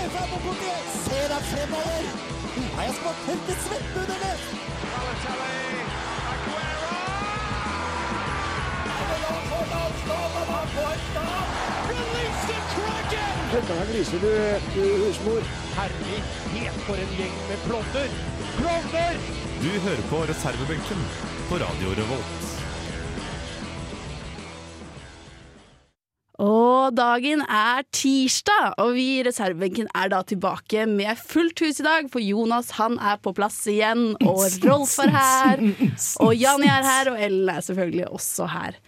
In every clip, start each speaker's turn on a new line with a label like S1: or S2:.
S1: tilbake, ser deg fremover. Nei, jeg skal tørke svetten under det.
S2: Dette gliser du, du husmor.
S3: Herlighet, for en gjeng med klovner! Klovner!
S4: Du hører på reservebenken på Radio Revolt.
S5: Og dagen er tirsdag, og vi i reservebenken er da tilbake med fullt hus i dag, for Jonas han er på plass igjen, og Rolf er her, og Jani er her, og Ellen er selvfølgelig også her.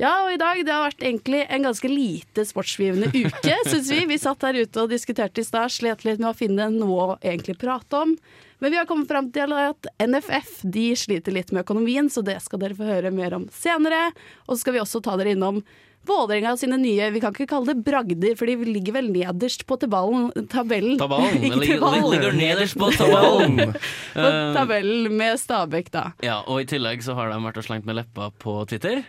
S5: Ja, og i dag det har vært egentlig en ganske lite sportsgivende uke, syns vi. Vi satt her ute og diskuterte i stad, slet litt med å finne noe å egentlig prate om. Men vi har kommet fram til at NFF de sliter litt med økonomien, så det skal dere få høre mer om senere. Og så skal vi også ta dere innom Vålerenga sine nye, vi kan ikke kalle det bragder, for de ligger vel nederst på tabellen. tabellen.
S6: Tabalen.
S5: Ikke
S6: Den ligger,
S5: tabellen.
S6: ligger nederst på tabalen.
S5: På tabellen med Stabæk, da.
S6: Ja, og i tillegg så har de vært og slengt med leppa på Twitter.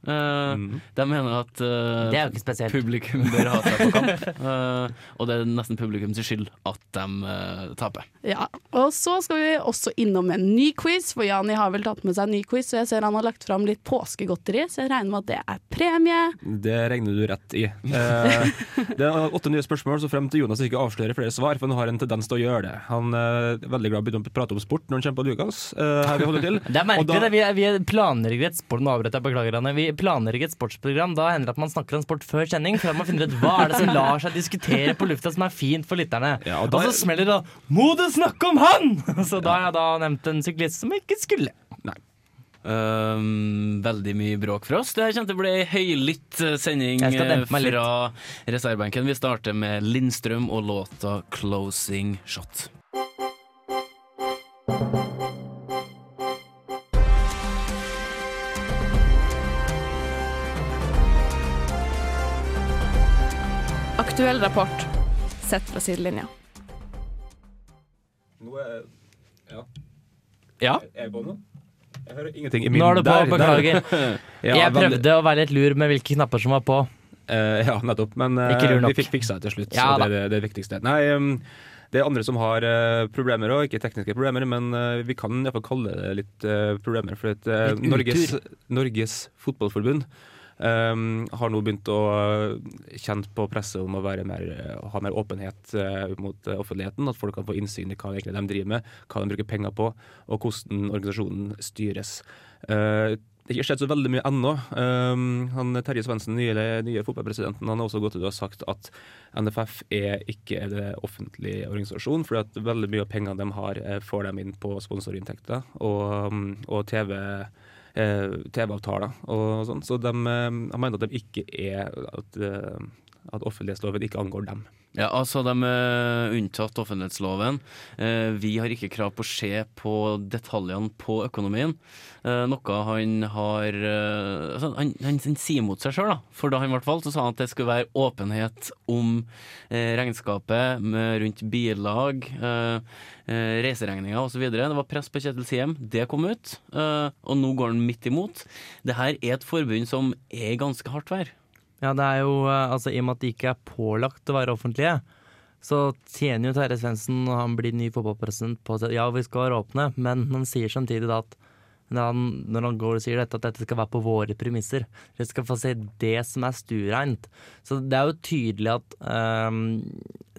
S6: Eh, De mener at eh,
S7: Det er jo ikke spesielt.
S6: publikum bør ha seg på kamp. Eh, og det er nesten publikums skyld at de eh, taper.
S5: Ja. Og så skal vi også innom en ny quiz, for Jani har vel tatt med seg en ny quiz, og jeg ser han har lagt fram litt påskegodteri, så jeg regner med at det er premie.
S8: Det regner du rett i. Eh, det er åtte nye spørsmål, så frem til Jonas ikke avslører flere svar, for han har en tendens til å gjøre det. Han eh, er veldig glad i å begynne å prate om sport når han kommer på Lukas. eh, her vi holder til.
S7: Det er merkelig.
S8: Og da-
S7: det. Vi, er- vi er- planlegger et sport, nå avbrøt jeg, beklager Anne. Vi planlegger et sportsprogram. Da hender det at man snakker om sport før sending, før man finner ut hva er det som lar seg diskutere på lufta som er fint for lytterne.
S8: Ja, og
S7: og,
S8: da-
S7: så smeller det da 'Må du snakke om han?' Så da har jeg da nevnt en syklist som ikke skulle.
S6: Um, Eh, veldig mye bråk fra oss. Det her kommer til å bli ei høylytt eh, sending
S7: Jeg skal
S6: eh,
S7: dempe meg litt.
S6: fra reservebenken. Vi starter med Lindstrøm og låta 'Closing Shot'.
S9: Aktuell rapport sett fra sidelinja.
S8: Nå er
S7: Ja,
S8: er jeg på nå? Jeg hører ingenting i min.
S7: nå er du på.
S8: Der, der.
S7: Beklager.
S8: Ja,
S7: Jeg
S8: veldig-
S7: prøvde å være litt lur med hvilke knapper som var på.
S8: Eh, ja, nettopp. Men eh,
S7: Ikke lur nok.
S8: vi fikk fiksa det til slutt,
S7: Ja,
S8: så det, det, det er det viktigste. Nei, em, det er andre som har eh, problemer òg, ikke tekniske problemer, men eh, vi kan iallfall kalle det litt eh, problemer. For at, eh,
S7: Litt
S8: Norges, Norges Fotballforbund em, har nå begynt å eh, kjenne på presset om å være mer, eh, ha mer åpenhet eh, mot eh, offentligheten. At folk kan få innsyn i hva egentlig de driver med, hva de bruker penger på, og hvordan organisasjonen styres. Eh, det har ikke skjedd så veldig mye ennå. Um, han, Terje Svendsen, nye, nye fotballpresidenten, han har også gått ut og sagt at NFF er ikke en offentlig organisasjon, fordi at veldig mye av pengene de har, eh, får dem inn på sponsorinntekter og, um, og TV. eh, TV-avtaler og sånn. Så de, eh, han mener at de ikke er At, eh, at offentlighetsloven ikke angår dem.
S6: Ja, altså De er unntatt offentlighetsloven. Eh, Vi har ikke krav på å se på detaljene på økonomien. Eh, Noe han har eh, altså, Han, han, han sier mot seg sjøl, for da han ble valgt, så sa han at det skulle være åpenhet om eh, regnskapet med, rundt bilag, eh, eh, reiseregninger osv. Det var press på Kjetil Siem, det kom ut. eh, Og nå går han midt imot. Det her er et forbund som er i ganske hardt vær.
S7: Ja, det er jo eh, altså i og med at de ikke er pålagt å være offentlige, så tjener jo Terje Svendsen når han blir ny fotballpresident på at ja, vi skal være åpne, men han sier samtidig da at når han, når han går og sier dette, at dette skal være på våre premisser. Dere skal få se det som er stuereint. Så det er jo tydelig at ehm,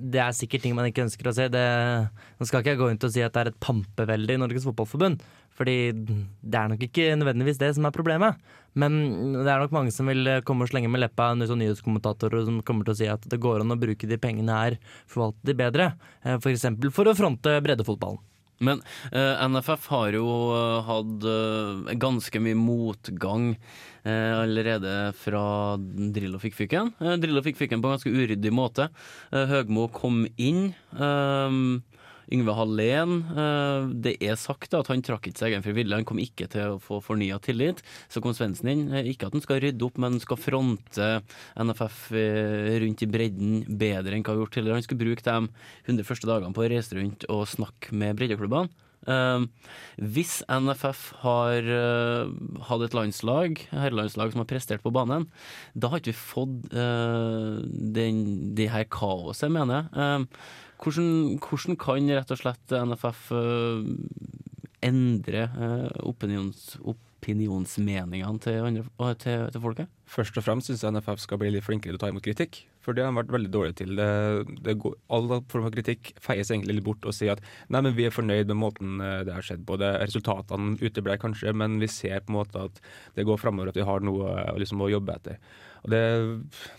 S7: det er sikkert ting man ikke ønsker å se. Det, nå skal ikke jeg gå rundt og si at det er et pampevelde i Norges Fotballforbund, fordi det er nok ikke nødvendigvis det som er problemet. Men det er nok mange som vil eh, komme og slenge med leppa en sånn nyhetskommentatorer som kommer til å si at det går an å bruke de pengene her, forvalte de bedre. Eh, For eksempel for å fronte breddefotballen.
S6: Men eh, NFF har jo eh, hatt eh, ganske mye motgang eh, allerede fra Drillo fikk fyken. Eh, Drillo fikk fyken på en ganske uryddig måte. Eh, Høgmo kom inn. ehm, Yngve Hallén. eh, det er sagt da at han trakk ikke seg egen frivillig, han kom ikke til å få fornya tillit. Så kom Svendsen inn. Eh, Ikke at han skal rydde opp, men han skal fronte NFF eh, rundt i bredden bedre enn hva han har gjort tidligere. Han skulle bruke dem 100 første dagene på å reise rundt og snakke med breddeklubbene. Eh, hvis NFF har eh, hatt et landslag, herrelandslag, som har prestert på banen, da har ikke vi fått eh, den, det her kaoset, mener jeg. Eh, Hvordan, hvordan kan rett og slett NFF eh, endre eh, opinions, opinionsmeningene til, andre, å, til, til folket?
S8: Først og fremst syns jeg NFF skal bli litt flinkere til å ta imot kritikk. For det har de vært veldig dårlige til. Det, det går, all form for kritikk feies egentlig litt bort og sier at nei, men vi er fornøyd med måten eh, det har skjedd på. Det, resultatene uteble kanskje, men vi ser på en måte at det går framover, at vi har noe eh, liksom, å jobbe etter. Og det,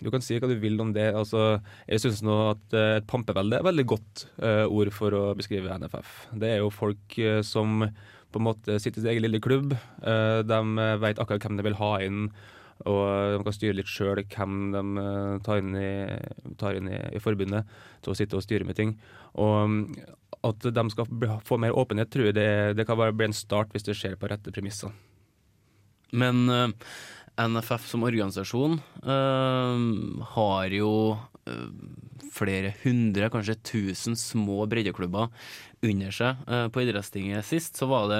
S8: du kan si hva du vil om det. Altså, jeg syns nå at eh, et pampevelde er et veldig godt eh, ord for å beskrive NFF. Det er jo folk eh, som på en måte sitter i sin egen lille klubb. Eh, de veit akkurat hvem de vil ha inn. Og de kan styre litt sjøl hvem de eh, tar inn, i, tar inn i, i forbundet til å sitte og styre med ting. Og mm, at de skal bli- få mer åpenhet, tror jeg det, det kan bare bli en start hvis det skjer på rette premisser.
S6: Men eh, NFF som organisasjon eh, har jo eh, flere hundre, kanskje tusen små breddeklubber under seg. Eh, på idrettstinget sist så var det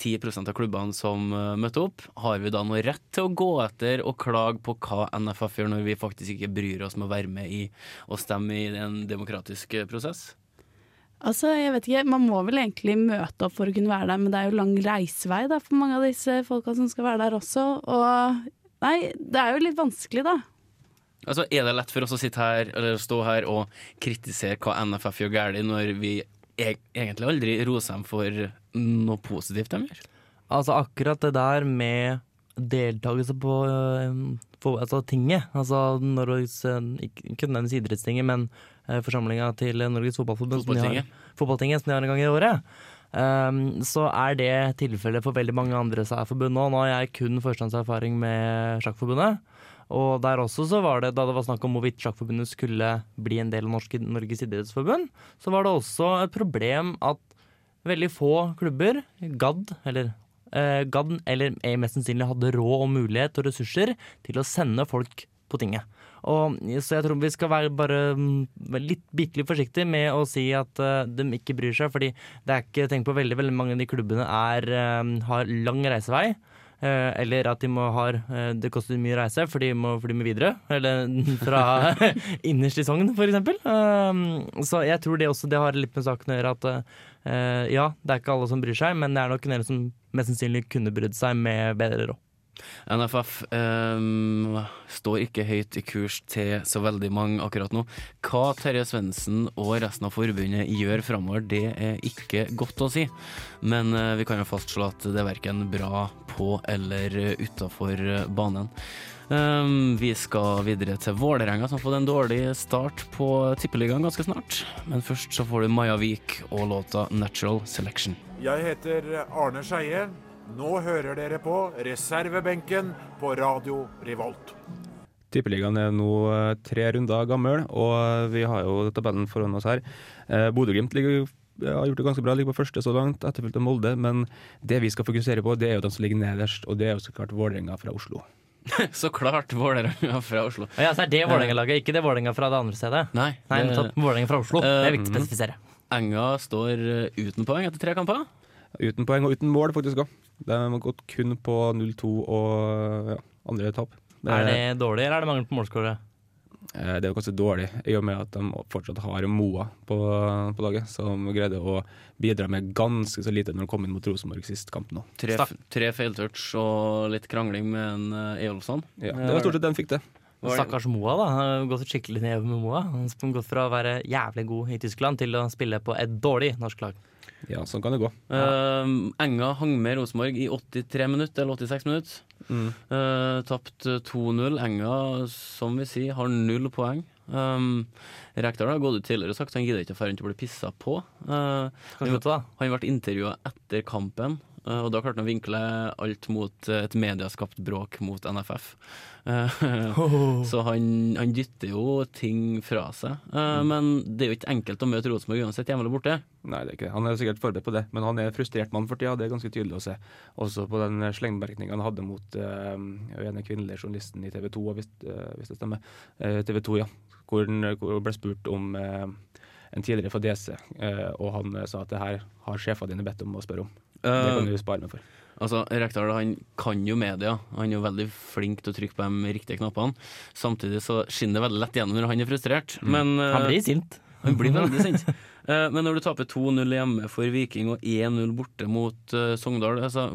S6: 10 av klubbene som eh, møtte opp. Har vi da noe rett til å gå etter og klage på hva NFF gjør, når vi faktisk ikke bryr oss med å være med i og stemme i en demokratisk eh, prosess?
S5: Altså, jeg vet ikke, Man må vel egentlig møte opp for å kunne være der, men det er jo lang reisevei da, for mange av disse folka som skal være der også. Og nei, det er jo litt vanskelig, da.
S6: Altså, er det lett for oss å sitte her, eller stå her og kritisere hva NFF gjør galt, når vi e egentlig aldri roser dem for noe positivt de gjør?
S7: Altså akkurat det der med deltakelse på, eh, på altså, tinget, altså Norges, eh, ikke ikke nødvendigvis idrettstinget, men eh, forsamlinga til Norges Fotballforbund, som de har-
S6: Fotballtinget.
S7: fotballtinget som de har en gang i året, ehm, så er det tilfellet for veldig mange andre særforbund nå. Nå har jeg kun førstehåndserfaring med sjakkforbundet. Og der også så var det, da det var snakk om hvorvidt sjakkforbundet skulle bli en del av Norske, Norges idrettsforbund, så var det også et problem at veldig få klubber gadd, eller eh, gadd, eller eh, mest sannsynlig hadde råd og mulighet og ressurser til å sende folk på tinget. Og, så jeg tror vi skal være bare mm, være litt bitte litt forsiktige med å si at eh, de ikke bryr seg, fordi det er ikke Tenk på veldig veldig mange av de klubbene er, eh, har lang reisevei. eh, eller at de må har, eh, det koster mye reise, for de må fly med videre. Eller fra innerst i Sogn, f.eks. Uh, så jeg tror det også det har litt med saken å gjøre at eh, ja, det er ikke alle som bryr seg, men det er nok en del som mest sannsynlig kunne brydd seg med bedre råd.
S6: NFF ehm, står ikke høyt i kurs til så veldig mange akkurat nå. Hva Terje Svendsen og resten av forbundet gjør framover, det er ikke godt å si. Men eh, vi kan jo fastslå at det er verken bra på eller utafor banen. Ehm, vi skal videre til Vålerenga, som har fått en dårlig start på tippeligaen ganske snart. Men først så får du Maja Vik og låta 'Natural Selection'.
S10: Jeg heter Arne Skeie. Nå hører dere på reservebenken på Radio Revolt.
S8: Tippeligaen er nå eh, tre runder gammel, og vi har jo tabellen foran oss her. Eh, Bodø-Glimt ligger- ja, har gjort det ganske bra, ligger på første så langt, etterfulgt av Molde. Men det vi skal fokusere på, det er jo de som ligger nederst, og det er jo så klart Vålerenga fra Oslo.
S6: Så klart Vålerenga fra Oslo.
S7: Ja, så er det Vålerenga-laget, ikke det Vålerenga fra det andre stedet.
S6: Nei,
S7: Nei,
S6: det-
S7: nettopp. Vålerenga fra Oslo. Det
S6: Eh,
S7: er viktig å spesifisere.
S6: Enga står eh, uten poeng etter tre kamper.
S8: Uten poeng og uten mål, faktisk òg. De har gått kun på 0-2 og ja, andre tap.
S7: Er det dårlig, eller er det mangel på målskårere?
S8: Eh, Det er jo ganske dårlig, i og med at de fortsatt har Moa på, på laget, som greide å bidra med ganske så lite når de kom inn mot Rosenborg sist kamp nå.
S6: Tre,
S7: Stakk.
S6: tre feiltouch og litt krangling med en eh, Eolfsson.
S8: Ja, det var stort sett den fikk det.
S6: Var det-
S7: Stakkars Moa, da. Han har gått skikkelig ned med Moa. Han har gått fra å være jævlig god i Tyskland til å spille på et dårlig norsk lag.
S8: Ja, sånn kan det gå.
S6: Ehm, Enga hang med Rosenborg i 83 minutter, eller 86 minutter.
S8: Mm.
S6: Uh, Tapt 2-0. Enga, som vi sier, har null poeng. Um, Rekdal har gått ut tidligere og sagt han gidder ikke å dra rundt og bli pissa på. Eh,
S7: Skal vi slutte, da?
S6: han ble intervjua etter kampen, eh, og da klarte han å vinkle alt mot eh, et medieskapt bråk mot NFF. Eh, Så han, han dytter jo ting fra seg. Eh,
S8: Mm.
S6: Men det er jo ikke enkelt å møte Rosenborg uansett, hjemme eller borte.
S8: Nei, det er ikke det. Han er sikkert forberedt på det, men han er en frustrert mann for tida, det er ganske tydelig å se. Også på den slengbemerkninga han hadde mot eh, den ene kvinnelige journalisten i TV 2, hvis, eh, hvis det stemmer. TV 2, ja. Hvor han hvor han ble spurt om eh, en tidligere fadese, eh, og han eh, sa at det her har sjefene dine bedt om å spørre om. Det kan du spare meg for.
S6: Eh, Altså, Rekdal han kan jo media, han er jo veldig flink til å trykke
S8: Mm.
S6: på de riktige knappene. Samtidig så skinner det veldig lett gjennom når han er frustrert. Men, eh,
S7: Han blir sint.
S6: Han blir veldig sint. Eh, Men når du taper 2-0 hjemme for Viking og 1-0 borte mot eh, Sogndal, altså,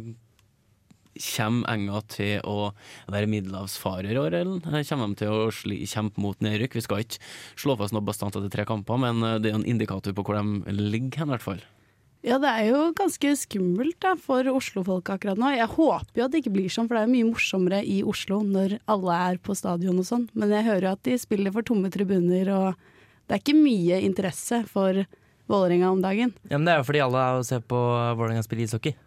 S6: kommer Enga til å være middelhavsfarer i år, eller Eh, kommer de til å sli, kjempe mot nedrykk? Vi skal ikke slå fast noe bastant etter tre kamper, men eh, det er jo en indikator på hvor de ligger hen, i hvert fall.
S5: Ja, det er jo ganske skummelt da, for Oslo-folk akkurat nå. Jeg håper jo at det ikke blir sånn, for det er jo mye morsommere i Oslo når alle er på stadion og sånn. Men jeg hører jo at de spiller for tomme tribuner, og det er ikke mye interesse for Vålerenga om dagen.
S7: Ja, men det er jo fordi alle er og ser på Vålerenga spille ishockey.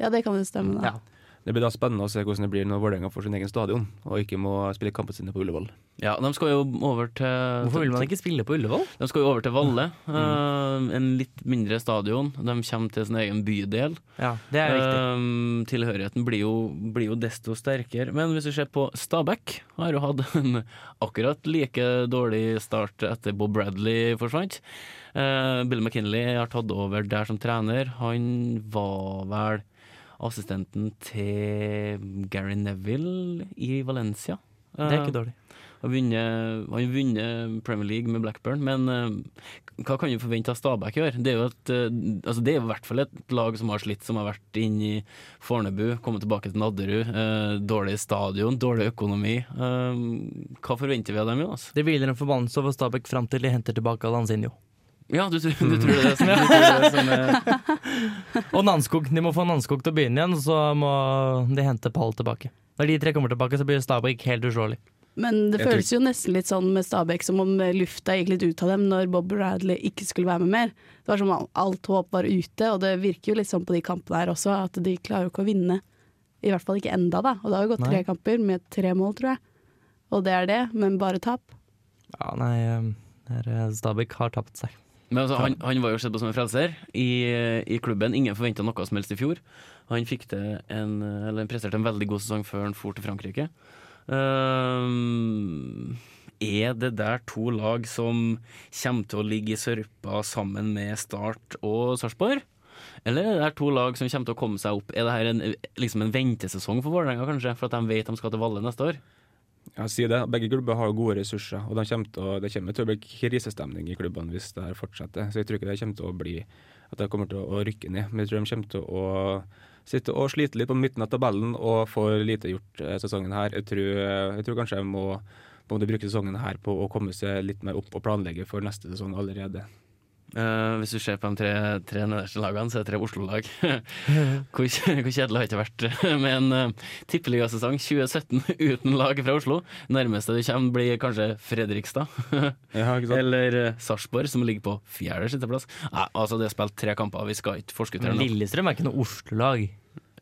S5: Ja, det kan jo stemme, da.
S8: Det blir da spennende å se hvordan det blir når Vålerenga får sin egen stadion, og ikke må spille kampene sine på Ullevål.
S6: Ja, de skal jo over til
S7: Hvorfor vil man ikke Mm. spille på Ullevål?
S6: De skal jo over til Valle, eh, en litt mindre stadion. De kommer til sin egen bydel.
S7: Ja, det er jo riktig.
S6: Eh, tilhørigheten blir jo, blir jo desto sterkere. Men hvis vi ser på Stabæk, har jo hatt en akkurat like dårlig start etter Bob Bradley forsvant. Eh, Bill McKinley har tatt over der som trener. Han var vel assistenten til Gary Neville i Valencia. Ehm,
S7: Det er ikke dårlig.
S6: Han vinner, han vinner Premier League med Blackburn, men eh, hva kan vi forvente av Stabæk i år? Det er jo et, eh, altså det er jo i hvert fall et lag som har slitt, som har vært inne i Fornebu, kommet tilbake til Nadderud. eh, dårlig stadion, dårlig økonomi. Eh, hva forventer vi av dem, Jonas?
S7: Det hviler en forbannelse over Stabæk fram til de henter tilbake Alanzinho.
S6: Ja, du, tror- du tror det er det som, du tror det er som er
S7: Og Nanskog. De må få Nanskog til å begynne igjen, så må de hente Pall tilbake. Når de tre kommer tilbake, så blir Stabæk helt uslåelig.
S5: Men det
S8: Jeg tror-
S5: føles jo nesten litt sånn med Stabæk som om lufta gikk litt ut av dem når Bob Bradley ikke skulle være med mer. Det var som om alt håp var ute, og det virker jo litt sånn på de kampene her også, at de klarer jo ikke å vinne. I hvert fall ikke enda, da. Og det har jo gått tre
S7: Nei.
S5: kamper med tre mål, tror jeg. Og det er det, men bare tap.
S7: Ja, nei, eh, det er, eh, Stabæk har tapt seg.
S6: Men altså, han, han var jo sett på som en frelser i, i klubben. Ingen forventa noe som helst i fjor. Han fikk til en, eller han presterte en veldig god sesong før han for til Frankrike. Ehm, er det der to lag som kommer til å ligge i sørpa sammen med Start og Sarpsborg? Eller er det der to lag som kommer til å komme seg opp? Er det her en, liksom en ventesesong for Vålerenga, kanskje? For at de vet de skal til Valle neste år?
S8: Ja, si det. Begge klubber har jo gode ressurser, og de kommer til å, det kommer til å bli krisestemning i klubbene hvis det her fortsetter. Så jeg tror ikke det kommer til å bli at det kommer til å rykke ned. Men jeg tror de kommer til å sitte og slite litt på midten av tabellen og få lite gjort eh, sesongen her. Jeg tror, eh, jeg tror kanskje de må på en måte bruke sesongen her på å komme seg litt mer opp og planlegge for neste sesong allerede.
S6: Eh, hvis du ser på de tre, tre nederste lagene, så er det tre Oslo-lag. hvor, kj- hvor kjedelig har det ikke vært med en uh, tippeligasesong 2017 uten lag fra Oslo? Nærmeste du kommer, blir kanskje Fredrikstad.
S8: Ja, ikke sant?
S6: Eller eh, Sarpsborg, som ligger på fjerde sitteplass. Nei, altså, det er spilt tre kamper, vi skal ikke forskuttere
S7: Men
S6: noe.
S7: Lillestrøm er ikke noe Oslo-lag.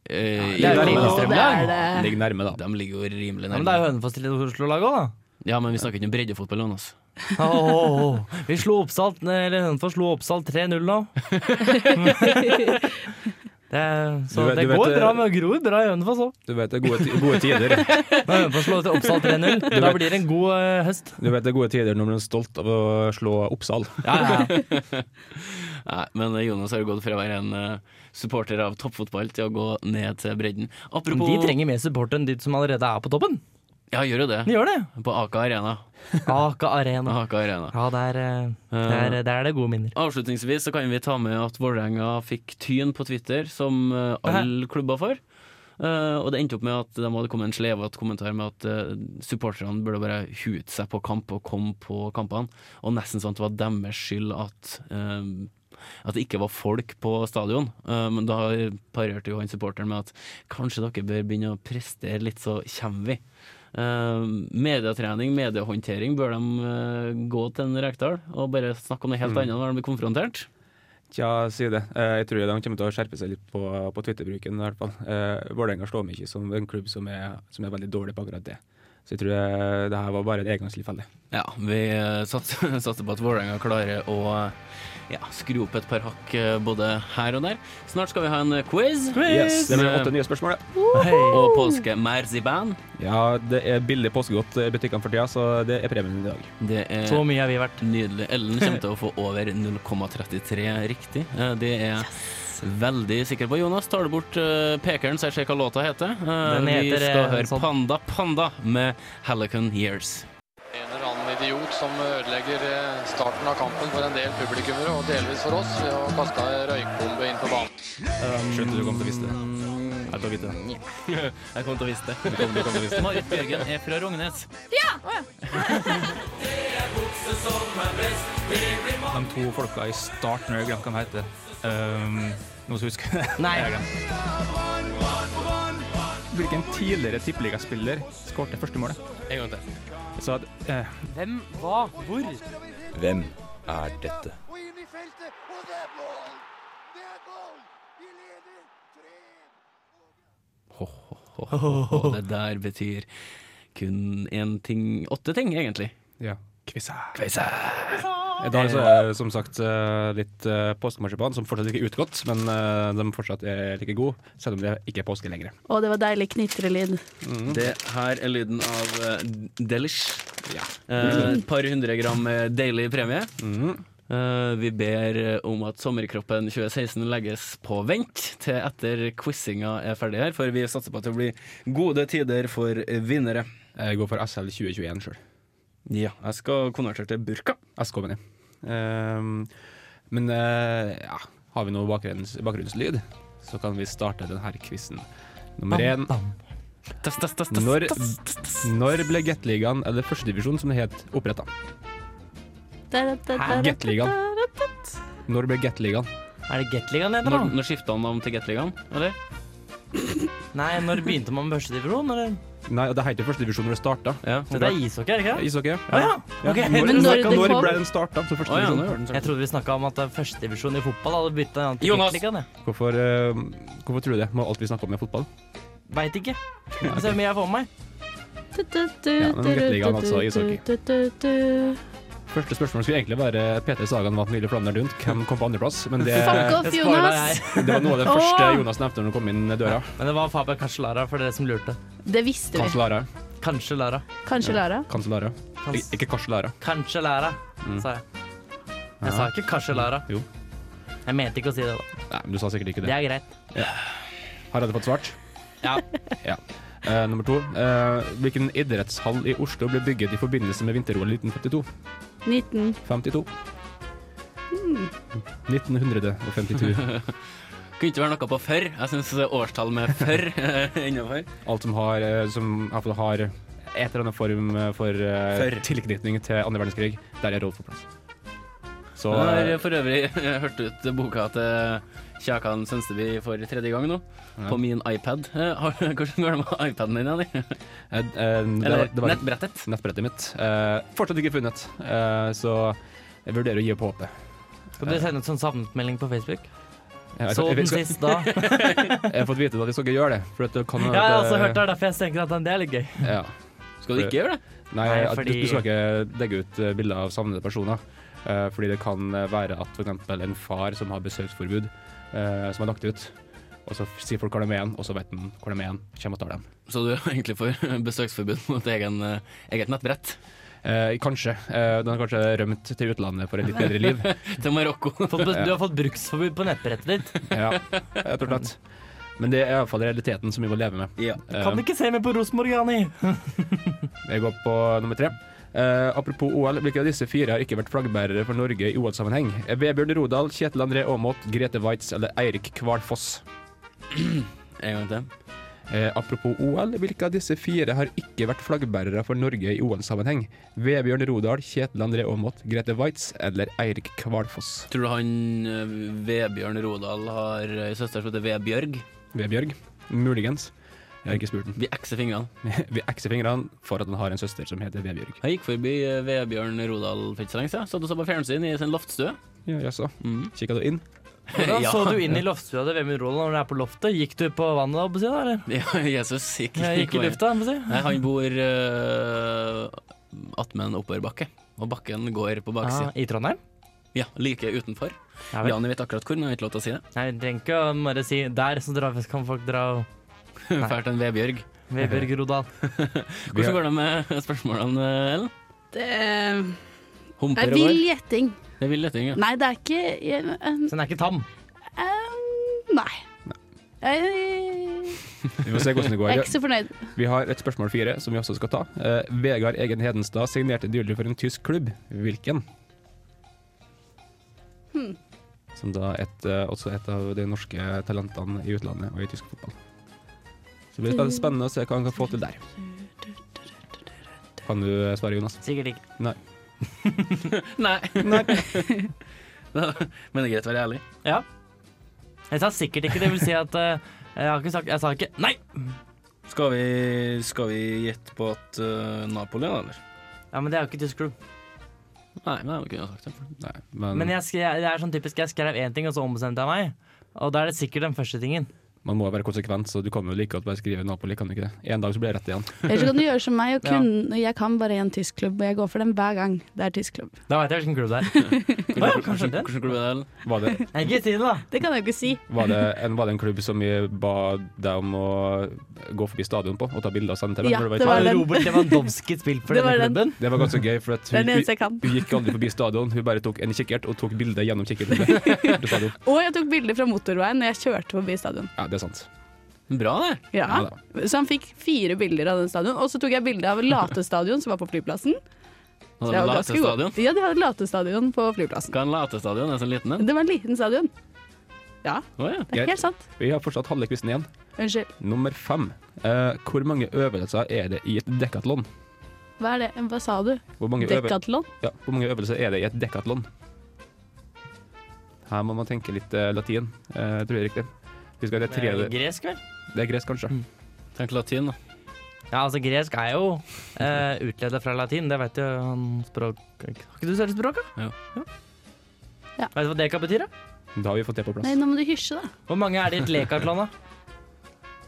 S6: Eh,
S7: Det er jo
S6: ja,
S7: Lillestrøm,
S5: det er det.
S8: Ligger nærme, da.
S6: De ligger jo rimelig
S7: Ja, men det er
S6: nærme.
S7: Hønefoss til et Oslo-lag òg, da.
S6: Ja, men vi snakker ikke om breddefotball, altså. Jonas.
S7: Åh, åh, åh. Vi slo Oppsal eller Hønefoss slo Oppsal 3-0 nå. Det, er- så
S8: Du vet-
S7: det
S8: du vet
S7: går
S8: det-
S7: bra med gror bra i Hønefoss òg.
S8: Du vet det er gode, ti- gode tider.
S7: Når Hønefoss slår til Oppsal 3-0, da blir det en god eh, høst.
S8: Du vet det er gode tider når man er stolt av å slå Oppsal.
S7: Ja, ja, ja.
S6: Nei, men eh, Jonas har jo gått fra å være en eh, supporter av toppfotball til å gå ned til bredden.
S7: Men
S6: Apropos
S7: De trenger mer support enn de som allerede er på toppen.
S6: Ja, gjør jo det.
S7: De gjør det.
S6: På Aka Arena.
S7: Aka Arena.
S6: Aka Arena.
S7: Ja, der, eh, der, der er det gode minner.
S6: Avslutningsvis så kan vi ta med at Vålerenga fikk tyn på Twitter, som eh, alle klubber får. Eh, og det endte opp med at de hadde kommet en slevete kommentar med at eh, supporterne burde bare hute seg på kamp og komme på kampene. Og nesten sånn at det var deres skyld at, eh, at det ikke var folk på stadion. Eh, men da parerte jo han supporteren med at kanskje dere bør begynne å prestere litt, så kommer vi. Eh, medietrening, mediehåndtering, bør de eh, gå til en Rekdal og bare snakke om noe helt annet når de blir konfrontert?
S8: Tja, si det. Eh, Jeg tror de kommer til å skjerpe seg litt på, på Twitter-bruken. i hvert fall. Eh, Vålerenga slår meg ikke som en klubb som er, som er veldig dårlig på akkurat det. Så jeg tror eh, det her var bare et engangstilfelle.
S6: Ja, vi eh, satser, satser på at Vålerenga klarer å eh, ja, skru opp et par hakk eh, både her og der. Snart skal vi ha en quiz.
S8: Yes, det blir
S6: Eh,
S8: åtte nye spørsmål. ja.
S6: og påske merziban.
S8: Ja, det er billig påskegodt i butikkene for tida, så det er premien i dag.
S6: Det er
S7: Så mye har vi vært.
S6: nydelig. Ellen kommer til å få over 0,33 riktig. Eh, Det er veldig sikker på. Jonas, tar du bort eh, pekeren, så jeg ser hva låta heter. Eh,
S7: Den heter,
S6: vi skal
S7: eh,
S6: høre
S7: sånn-
S6: Panda Panda med Helicon Years.
S11: En eller annen vil idiot som ødelegger eh, starten av kampen for en del publikummere, og delvis for oss, ved å kaste ei røykbombe inn på banen.
S8: Skjønte du kom til å vise det. Jeg kom til å vite det.
S6: Jeg kom til å vise
S8: Du kom- du kom til å vise det.
S6: Marit Bjørgen er fra Rognes.
S9: Ja! Å, ja.
S12: De to folka i starten, jeg glemte hva de heter. Um, noen som husker det?
S7: Nei.
S12: Jeg har glemt. Hvilken tidligere tippeligaspiller skårte første målet?
S8: En gang til.
S12: Så at, eh,
S7: Hvem, hva, hvor?
S13: Hvem er dette?
S6: Og det der betyr kun én ting Åtte ting, egentlig.
S8: Ja. Kvisa. I
S6: I
S8: dag så er det som sagt eh, litt eh, påskemarsipan, som fortsatt ikke er utgått, men eh, de fortsatt er like gode, selv om det ikke er påske lenger.
S5: Og det var deilig knitrelyd.
S6: Det her er lyden av eh, Delish. Eh, Et par hundre gram eh, deilig premie. Eh, vi ber om at sommerkroppen 2016 legges på vent til etter quizinga er ferdig her, for vi satser på at det blir gode tider for vinnere.
S8: Jeg går for SL 2021 sjøl.
S6: Ja, jeg skal konvertere til burka.
S8: SK, mener jeg. Ehm, men eh, ja, har vi noe bakgrunns, bakgrunnslyd, så kan vi starte denne quizen.
S7: Ah.
S8: Nummer én. Når, når ble Gateligaen, eller førstedivisjon som det het, oppretta? Gateligaen. Når ble Gateligaen?
S7: Er det Gateligaen det heter,
S6: Når,
S7: da?
S6: når skifta han navn til Gateligaen, eller?
S7: Nei, når begynte man med førstedivisjon, eller?
S8: Nei, det heter førstedivisjon når det starta.
S6: Sånn
S7: Så det er ishockey, er det ikke?
S8: Ishockey, ja.
S7: Å ja, ok.
S8: Når,
S7: Men når
S8: når,
S7: det kom-
S8: ble den altså starta? Så
S7: Å, ja,
S8: førstedivisjon.
S7: jeg trodde vi snakka om at det er førstedivisjon i fotball hadde bytta navn til
S8: Jonas!
S7: Gateligaen. jeg.
S8: Hvorfor, eh, hvorfor tror du det? Må alt vi snakker om, er fotball?
S7: Veit ikke. Vi får Se hvor mye jeg får med meg.
S8: Ja, men Gateligaen, altså, ishockey. Første spørsmål skulle egentlig være Peter Sagan vant nylig Flandern rundt. Hvem kom på andreplass? Men det,
S5: Fuck off,
S7: Det spoiler
S5: Jonas!
S8: det var noe av det første
S5: Åh!
S8: Jonas nevnte når han kom inn døra.
S7: Men det var Faber Cancellara for dere som lurte.
S5: Det visste vi.
S8: Kanselara.
S7: Kanskje Lara.
S5: Kanskje Lara.
S8: Kanselara. Ik- Ikke Karselara.
S7: Kanskje Lara, sa jeg. Jeg sa ikke kanskje Lara.
S8: Mm. Jo.
S7: Jeg mente ikke å si det, da.
S8: Nei, men du sa sikkert ikke
S7: Det
S8: det.
S7: er greit.
S8: Har jeg det fått svart?
S7: Ja.
S8: Ja. Eh, nummer to. Eh, hvilken idrettshall i Oslo ble bygget i forbindelse med vinter-OL 1952?
S5: 19.
S8: 52.
S5: Mm.
S8: 1952.
S6: Kunne ikke være noe på før. Jeg syns årstall med før eh, er innafor.
S8: Alt som har, eh, som i hvert fall har et eller annet form eh, for eh,
S6: Før.
S8: tilknytning til andre verdenskrig, der er Rolf på plass. Så
S6: Jeg har
S8: eh,
S6: for øvrig hørt ut boka til Kjakan Sønsteby for tredje gang nå,
S8: Ja.
S6: på min iPad. Eh, har- Hvordan går det med iPaden din, Annie?
S8: Eh, eh, det
S6: Eller
S8: var- det var-
S6: nettbrettet.
S8: Nettbrettet mitt. Eh, fortsatt ikke funnet, eh, så jeg vurderer å gi opp håpet.
S7: Skal du sende ut sånn savnet-melding på Facebook?
S8: Ja, jeg-
S7: Så
S8: jeg-
S7: den
S8: jeg-
S7: sist da.
S8: Jeg har fått vite at jeg skal ikke gjøre det. For at det kan,
S7: Ja, jeg har også hørt det, er derfor jeg tenker at den- det er litt gøy.
S8: Ja.
S6: Skal du ikke gjøre det?
S8: Nei,
S7: Nei,
S8: at du,
S7: fordi-
S8: du skal ikke legge ut eh, bilder av savnede personer. eh, fordi det kan være at f.eks. en far som har besøksforbud, eh, som har lagt ut, og så f- sier folk hvor de er igjen, og så vet han hvor de er igjen, kommer og tar dem.
S6: Så du er egentlig for besøksforbud mot egen, eh, eget nettbrett?
S8: Eh, kanskje. Eh, den har kanskje rømt til utlandet for et litt bedre liv.
S6: Til Marokko.
S7: Fått be- Du har fått bruksforbud på nettbrettet ditt.
S8: Ja, rett og slett. Men det er iallfall realiteten som vi må leve med.
S6: Ja.
S7: Kan du ikke se meg på Rosenborg, Jani?
S8: Jeg går på nummer tre. Eh, apropos OL, hvilke av disse fire har ikke vært flaggbærere for Norge i OL-sammenheng? Eh, Vebjørn Rodal, Kjetil André Aamodt, Grete Waitz eller Eirik Kval Foss?
S6: En gang til.
S8: Eh, apropos OL, hvilke av disse fire har ikke vært flaggbærere for Norge i OL-sammenheng? Vebjørn Rodal, Kjetil André Aamodt, Grete Waitz eller Eirik Kvalfoss?
S6: Tror du han eh, Vebjørn Rodal har ei søster som heter Vebjørg?
S8: Vebjørg? Muligens. Jeg har ikke spurt den.
S6: Vi ekser fingrene.
S8: Vi ekser fingrene for at han har en søster som heter Vebjørg.
S6: Jeg gikk forbi eh, Vebjørn Rodal for ikke så lenge siden. Satt og så på fjernsyn i sin loftstue. Mm.
S8: Ja, jaså. Kikka du inn?
S7: Hvordan
S6: Ja.
S7: så du inn i loftstua til Vemund Roland når du er på loftet? Gikk du på vannet, holdt på å si, da, eller?
S6: Ja, Jesus gikk,
S7: Jeg gikk i lufta, holdt på å si.
S6: Nei, han bor uh, attmed en oppoverbakke, og bakken går på
S7: Ah,
S6: baksida.
S7: I Trondheim?
S6: Ja, like utenfor.
S7: Ja vel.
S6: Jani vet akkurat hvor, men jeg har ikke lov til å si det.
S7: Nei, jeg trenger ikke å bare si der, så dra, kan folk dra og
S6: Fælt en Vebjørg.
S7: Vebjørg Rodal.
S6: Hvordan går det med spørsmålene, Ellen?
S5: Det Jeg
S6: Humper og
S5: vil
S6: går?
S5: gjetting.
S6: Det er vill gjetting, ja.
S5: Nei, det er ikke jeg- eh,
S7: Så den er ikke tam.
S5: eh, Nei. Jeg
S8: Vi får se hvordan det går.
S5: Jeg er ikke så fornøyd.
S8: Vi har et spørsmål fire som vi også skal ta. Eh, Vegard Egen Hedenstad signerte nylig for en tysk klubb. Hvilken?
S5: Hmm.
S8: Som da et, eh, også et av de norske talentene i utlandet og i tysk fotball. Så det blir spen- spennende å se hva han kan få til der. Kan du eh, svare, Jonas?
S7: Sikkert ikke.
S8: Nei.
S6: Nei. Men det er greit å være ærlig.
S7: Ja. Jeg sa sikkert ikke, det vil si at eh, jeg har ikke sagt Jeg sa ikke nei!
S6: Skal vi, skal vi gjette på at eh, Napoli, da, eller?
S7: Ja, men det er jo ikke tysk klubb.
S6: Nei, men jeg kunne ha sagt det.
S8: Men,
S7: Men jeg, skre- det er sånn typisk, jeg skrev én ting, og så ombestemte jeg meg. Og da er det sikkert den første tingen.
S8: man må jo være konsekvent, så du kan jo like godt bare skrive Napoli, kan du ikke det? En dag så blir det rett igjen.
S5: Eller så kan du gjøre som meg og kun, Jeg kan bare én tysk klubb, og jeg går for den hver gang det er tysk klubb.
S7: Da veit jeg hvilken klubb det er. Å ja, kanskje den?
S6: Hvordan klubb er det? eller?
S8: Var det,
S7: Nei, Ikke si det, da!
S5: Det kan jeg jo ikke si.
S8: var, det en, var det en klubb som vi ba deg om å gå forbi stadion på og ta bilder og sende til meg?
S5: Ja,
S8: når du i
S5: det var
S8: Italia?
S5: den.
S7: Robert Lewandowski spilt for
S5: Det
S7: denne
S5: var den.
S7: klubben.
S8: Det var ganske gøy, for at
S5: Det er
S8: hun,
S5: den eneste jeg kan.
S8: hun, hun gikk aldri forbi stadion. Hun bare tok en kikkert og tok bilde gjennom kikkerten. til stadion.
S5: Og jeg tok bilder fra motorveien når jeg kjørte forbi stadion.
S8: Ja, det er sant.
S6: Bra, det.
S5: Ja.
S8: Ja da.
S5: Så han fikk fire bilder av den stadion. Og så tok jeg bilde av Latestadion, som var på flyplassen.
S6: Hadde
S5: Så
S6: de
S5: jeg var ganske god.
S6: latestadion?
S5: Ja, de hadde Latestadion på flyplassen.
S6: Hva er en latestadion? Er det sånn liten en?
S5: Det var en liten stadion. Ja,
S6: Å ja.
S5: det er helt sant.
S8: Vi har fortsatt halve quizen igjen.
S5: Unnskyld.
S8: Nummer fem. Eh, hvor mange øvelser er det i et dekatlon?
S5: Hva er det? Hva sa du?
S8: Hvor mange, øve-
S5: Dekatlon?
S8: ja, hvor mange øvelser er det i et dekatlon? Her må man tenke litt eh, latin, eh, tror jeg er riktig. Husk at det er Mm. tre
S7: Eh, Gresk, vel?
S8: Det er gresk, kanskje.
S6: Tenk latin, da.
S7: Ja, altså gresk er jo eh, utledet fra latin, det vet jo han språk... Har ikke du selv språk, da?
S6: Jo.
S5: Ja.
S7: Vet du hva deka betyr, da?
S8: Da har vi fått det på plass.
S5: Nei, nå må du hysje, da.
S7: Hvor mange er det i et lekatlon, da?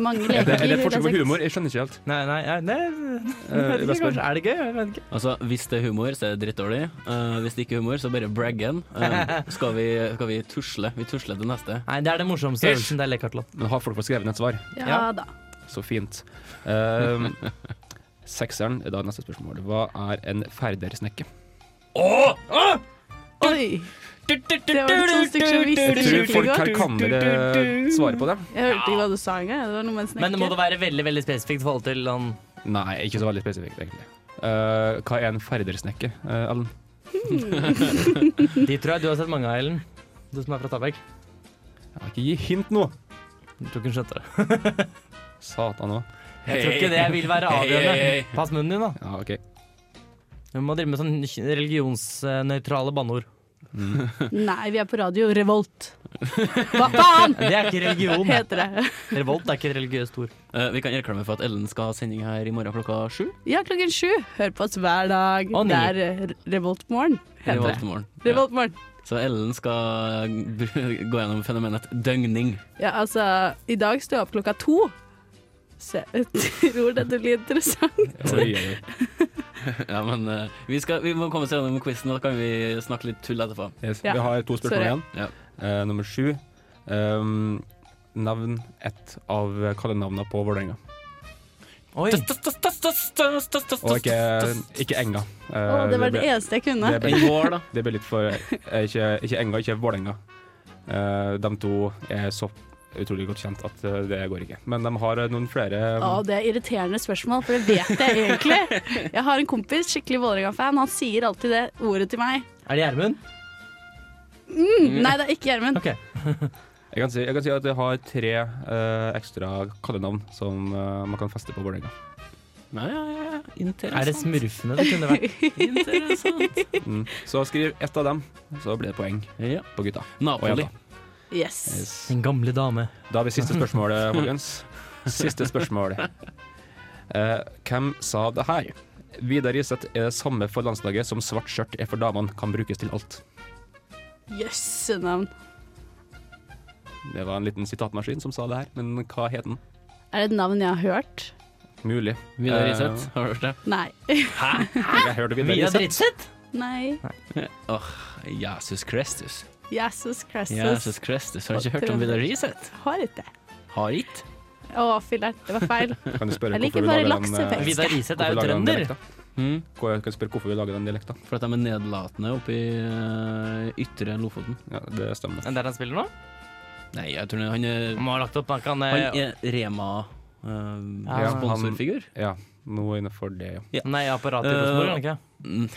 S5: Mange
S8: Er
S5: leker.
S8: det, er det
S5: vil jeg
S8: forskjell på
S5: sagt.
S8: humor? Jeg skjønner ikke helt. Eh,
S7: Nei, nei, nei, nei. jeg vet ikke,
S8: Vestborg.
S7: kanskje. Er det gøy? Jeg vet ikke.
S6: Altså, Hvis det er humor, så er det drittdårlig. Eh, hvis det ikke er humor, så bare braggen. Eh, skal, vi, skal vi tusle? Vi tusler til neste.
S7: Nei, det er den morsomste øvelsen, det er lekatlon.
S8: Men har folk fått skrevet ned et svar?
S5: Ja da.
S8: Så fint. Ehm, sekseren er da neste spørsmål. Hva er en ferdersnekke?
S5: Oi! Det var et sånt stykke som visste
S8: Jeg tror
S5: skikkelig
S8: folk her
S5: godt.
S8: kan dere svare på det.
S5: Jeg hørte ikke hva du sa engang. Det var noe med en
S7: Men det må
S5: snekker.
S7: det være veldig veldig spesifikt i forhold til han
S8: Nei, ikke så veldig spesifikt, egentlig. Eh, hva er en ferdersnekke, eh, Ellen?
S7: De tror jeg du har sett mange av, Ellen. Du som er fra Stabekk.
S8: Jeg har ikke gi hint nå!
S7: Jeg tror ikke hun skjønte det.
S8: Satan òg.
S7: Jeg tror ikke det vil være
S6: Hei, hei,
S7: avgjørende.
S6: hei.
S7: Pass munnen din, da.
S8: Ja, OK.
S7: Hun må drive med sånn religionsnøytrale banneord.
S5: Nei, vi er på radio Revolt. Hva faen
S7: Det er ikke religion.
S5: heter det?
S7: Revolt er ikke et religiøst ord.
S6: Eh, vi kan reklame for at Ellen skal ha sending her i morgen klokka sju.
S5: Ja, klokken sju. Hør på oss hver dag.
S7: Og ni.
S5: Det er eh, Revoltmorgen, heter det.
S6: Revoltmorgen. Ja.
S5: Revoltmorgen.
S6: Så Ellen skal br- gå gjennom fenomenet døgning.
S5: Ja, altså, i dag står jeg opp klokka to. Så jeg tror dette blir interessant.
S8: Oi, oi, oi.
S6: Ja, men eh, vi, skal, vi må komme oss gjennom quizen, og da kan vi snakke litt tull etterpå.
S8: Yes,
S5: Ja.
S8: Vi har to spørsmål
S5: Sorry.
S8: igjen.
S6: Ja.
S8: Eh, nummer sju. Ehm, navn ett av kallenavnene på Vålerenga.
S7: Oi.
S8: Og ikke, ikke Enga. Eh,
S5: Å, det var
S8: ble-
S5: det eneste jeg kunne.
S8: Det ble,
S6: En gård, da.
S8: det ble litt for eh, Ikke, ikke Enga, ikke Vålerenga. Eh, de to er så utrolig godt kjent at eh, det går ikke. Men de har eh, noen flere
S5: Å, det er irriterende spørsmål, for det vet jeg egentlig. Jeg har en kompis, skikkelig Vålerenga-fan, han sier alltid det ordet til meg.
S7: Er det Gjermund?
S5: Mm, nei, det er ikke Gjermund.
S7: OK.
S8: jeg, kan si, jeg kan si at de har tre eh, ekstra kallenavn som eh, man kan feste på Vålerenga.
S6: Ja, ja, ja.
S7: Er det
S6: Interessant.
S7: smurfene det kunne vært?
S6: Interessant.
S8: Mm. Så skriv ett av dem, så blir det poeng
S6: Ja.
S8: på gutta. Og
S6: Napoli.
S8: jenta.
S5: Yes.
S8: Yes.
S7: Den gamle dame.
S8: Da har vi siste spørsmål, eh, folkens. Siste spørsmål. Eh, hvem sa det her? Vidar Iseth er det samme for landslaget som svart skjørt er for damene, kan brukes til alt.
S5: Jøsse navn.
S8: Det var en liten sitatmaskin som sa det her, men hva het den?
S5: Er det et navn jeg har hørt?
S8: Mulig.
S6: Vidar
S8: Eh,
S6: Iseth, har du hørt det?
S5: Nei.
S8: Jeg hørte Vidar
S7: Via
S8: Iseth.
S7: Dritseth?
S5: Nei.
S6: Jesus Christus.
S5: Jesus Christus.
S6: Jesus Christus. Har du ikke hørt om Vidar Iseth?
S5: Har ikke det.
S6: Har ikke?
S5: Å, filler'n, det var feil.
S8: Kan du spørre
S5: Jeg
S8: hvorfor
S5: liker
S8: vi
S5: bare
S8: lager den,
S5: laksefest.
S8: eh,
S7: Vidar Riseth er
S8: hvorfor
S7: jo
S8: vi lager den
S7: trønder.
S8: dialekta?
S6: Mm.
S8: Hvor- Kan du spørre hvorfor vi lager den dialekta?
S6: For at de er nedlatende oppe i eh, ytre Lofoten.
S8: Ja, det stemmer.
S7: Er det der han spiller nå?
S6: Nei, jeg tror han er
S7: Han har lagt opp
S6: Han
S7: nakken. eh,
S6: er eh,
S8: Ja, han-
S6: Rema-sponsorfigur.
S8: Ja, noe innenfor det, ja.
S7: Nei, apparatet i Rosenborg, er han ikke?
S6: Mm.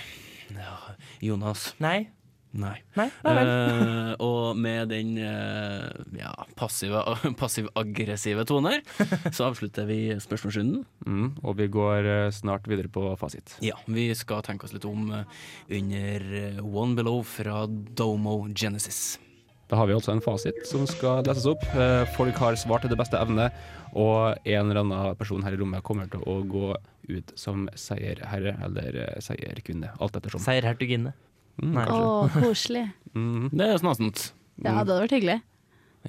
S6: Ja, Jonas.
S7: Nei.
S6: Nei.
S7: Nei, nei
S6: Eh, og med den eh, ja, passive, passiv-aggressive tonen her, så avslutter vi spørsmålsrunden.
S8: Mm, og vi går eh, snart videre på fasit.
S6: Ja, vi skal tenke oss litt om eh, under eh, One Below fra Domo Genesis.
S8: Da har vi altså en fasit som skal leses opp. Eh, Folk har svart til det beste evne, og en eller annen person her i rommet kommer til å gå ut som seierherre eller eh, seierkvinne, alt ettersom.
S7: Seierhertuginne.
S8: Mm,
S7: Nei.
S5: Å,
S8: kanskje.
S5: koselig.
S6: Det er snasent.
S5: Ja, det hadde vært hyggelig.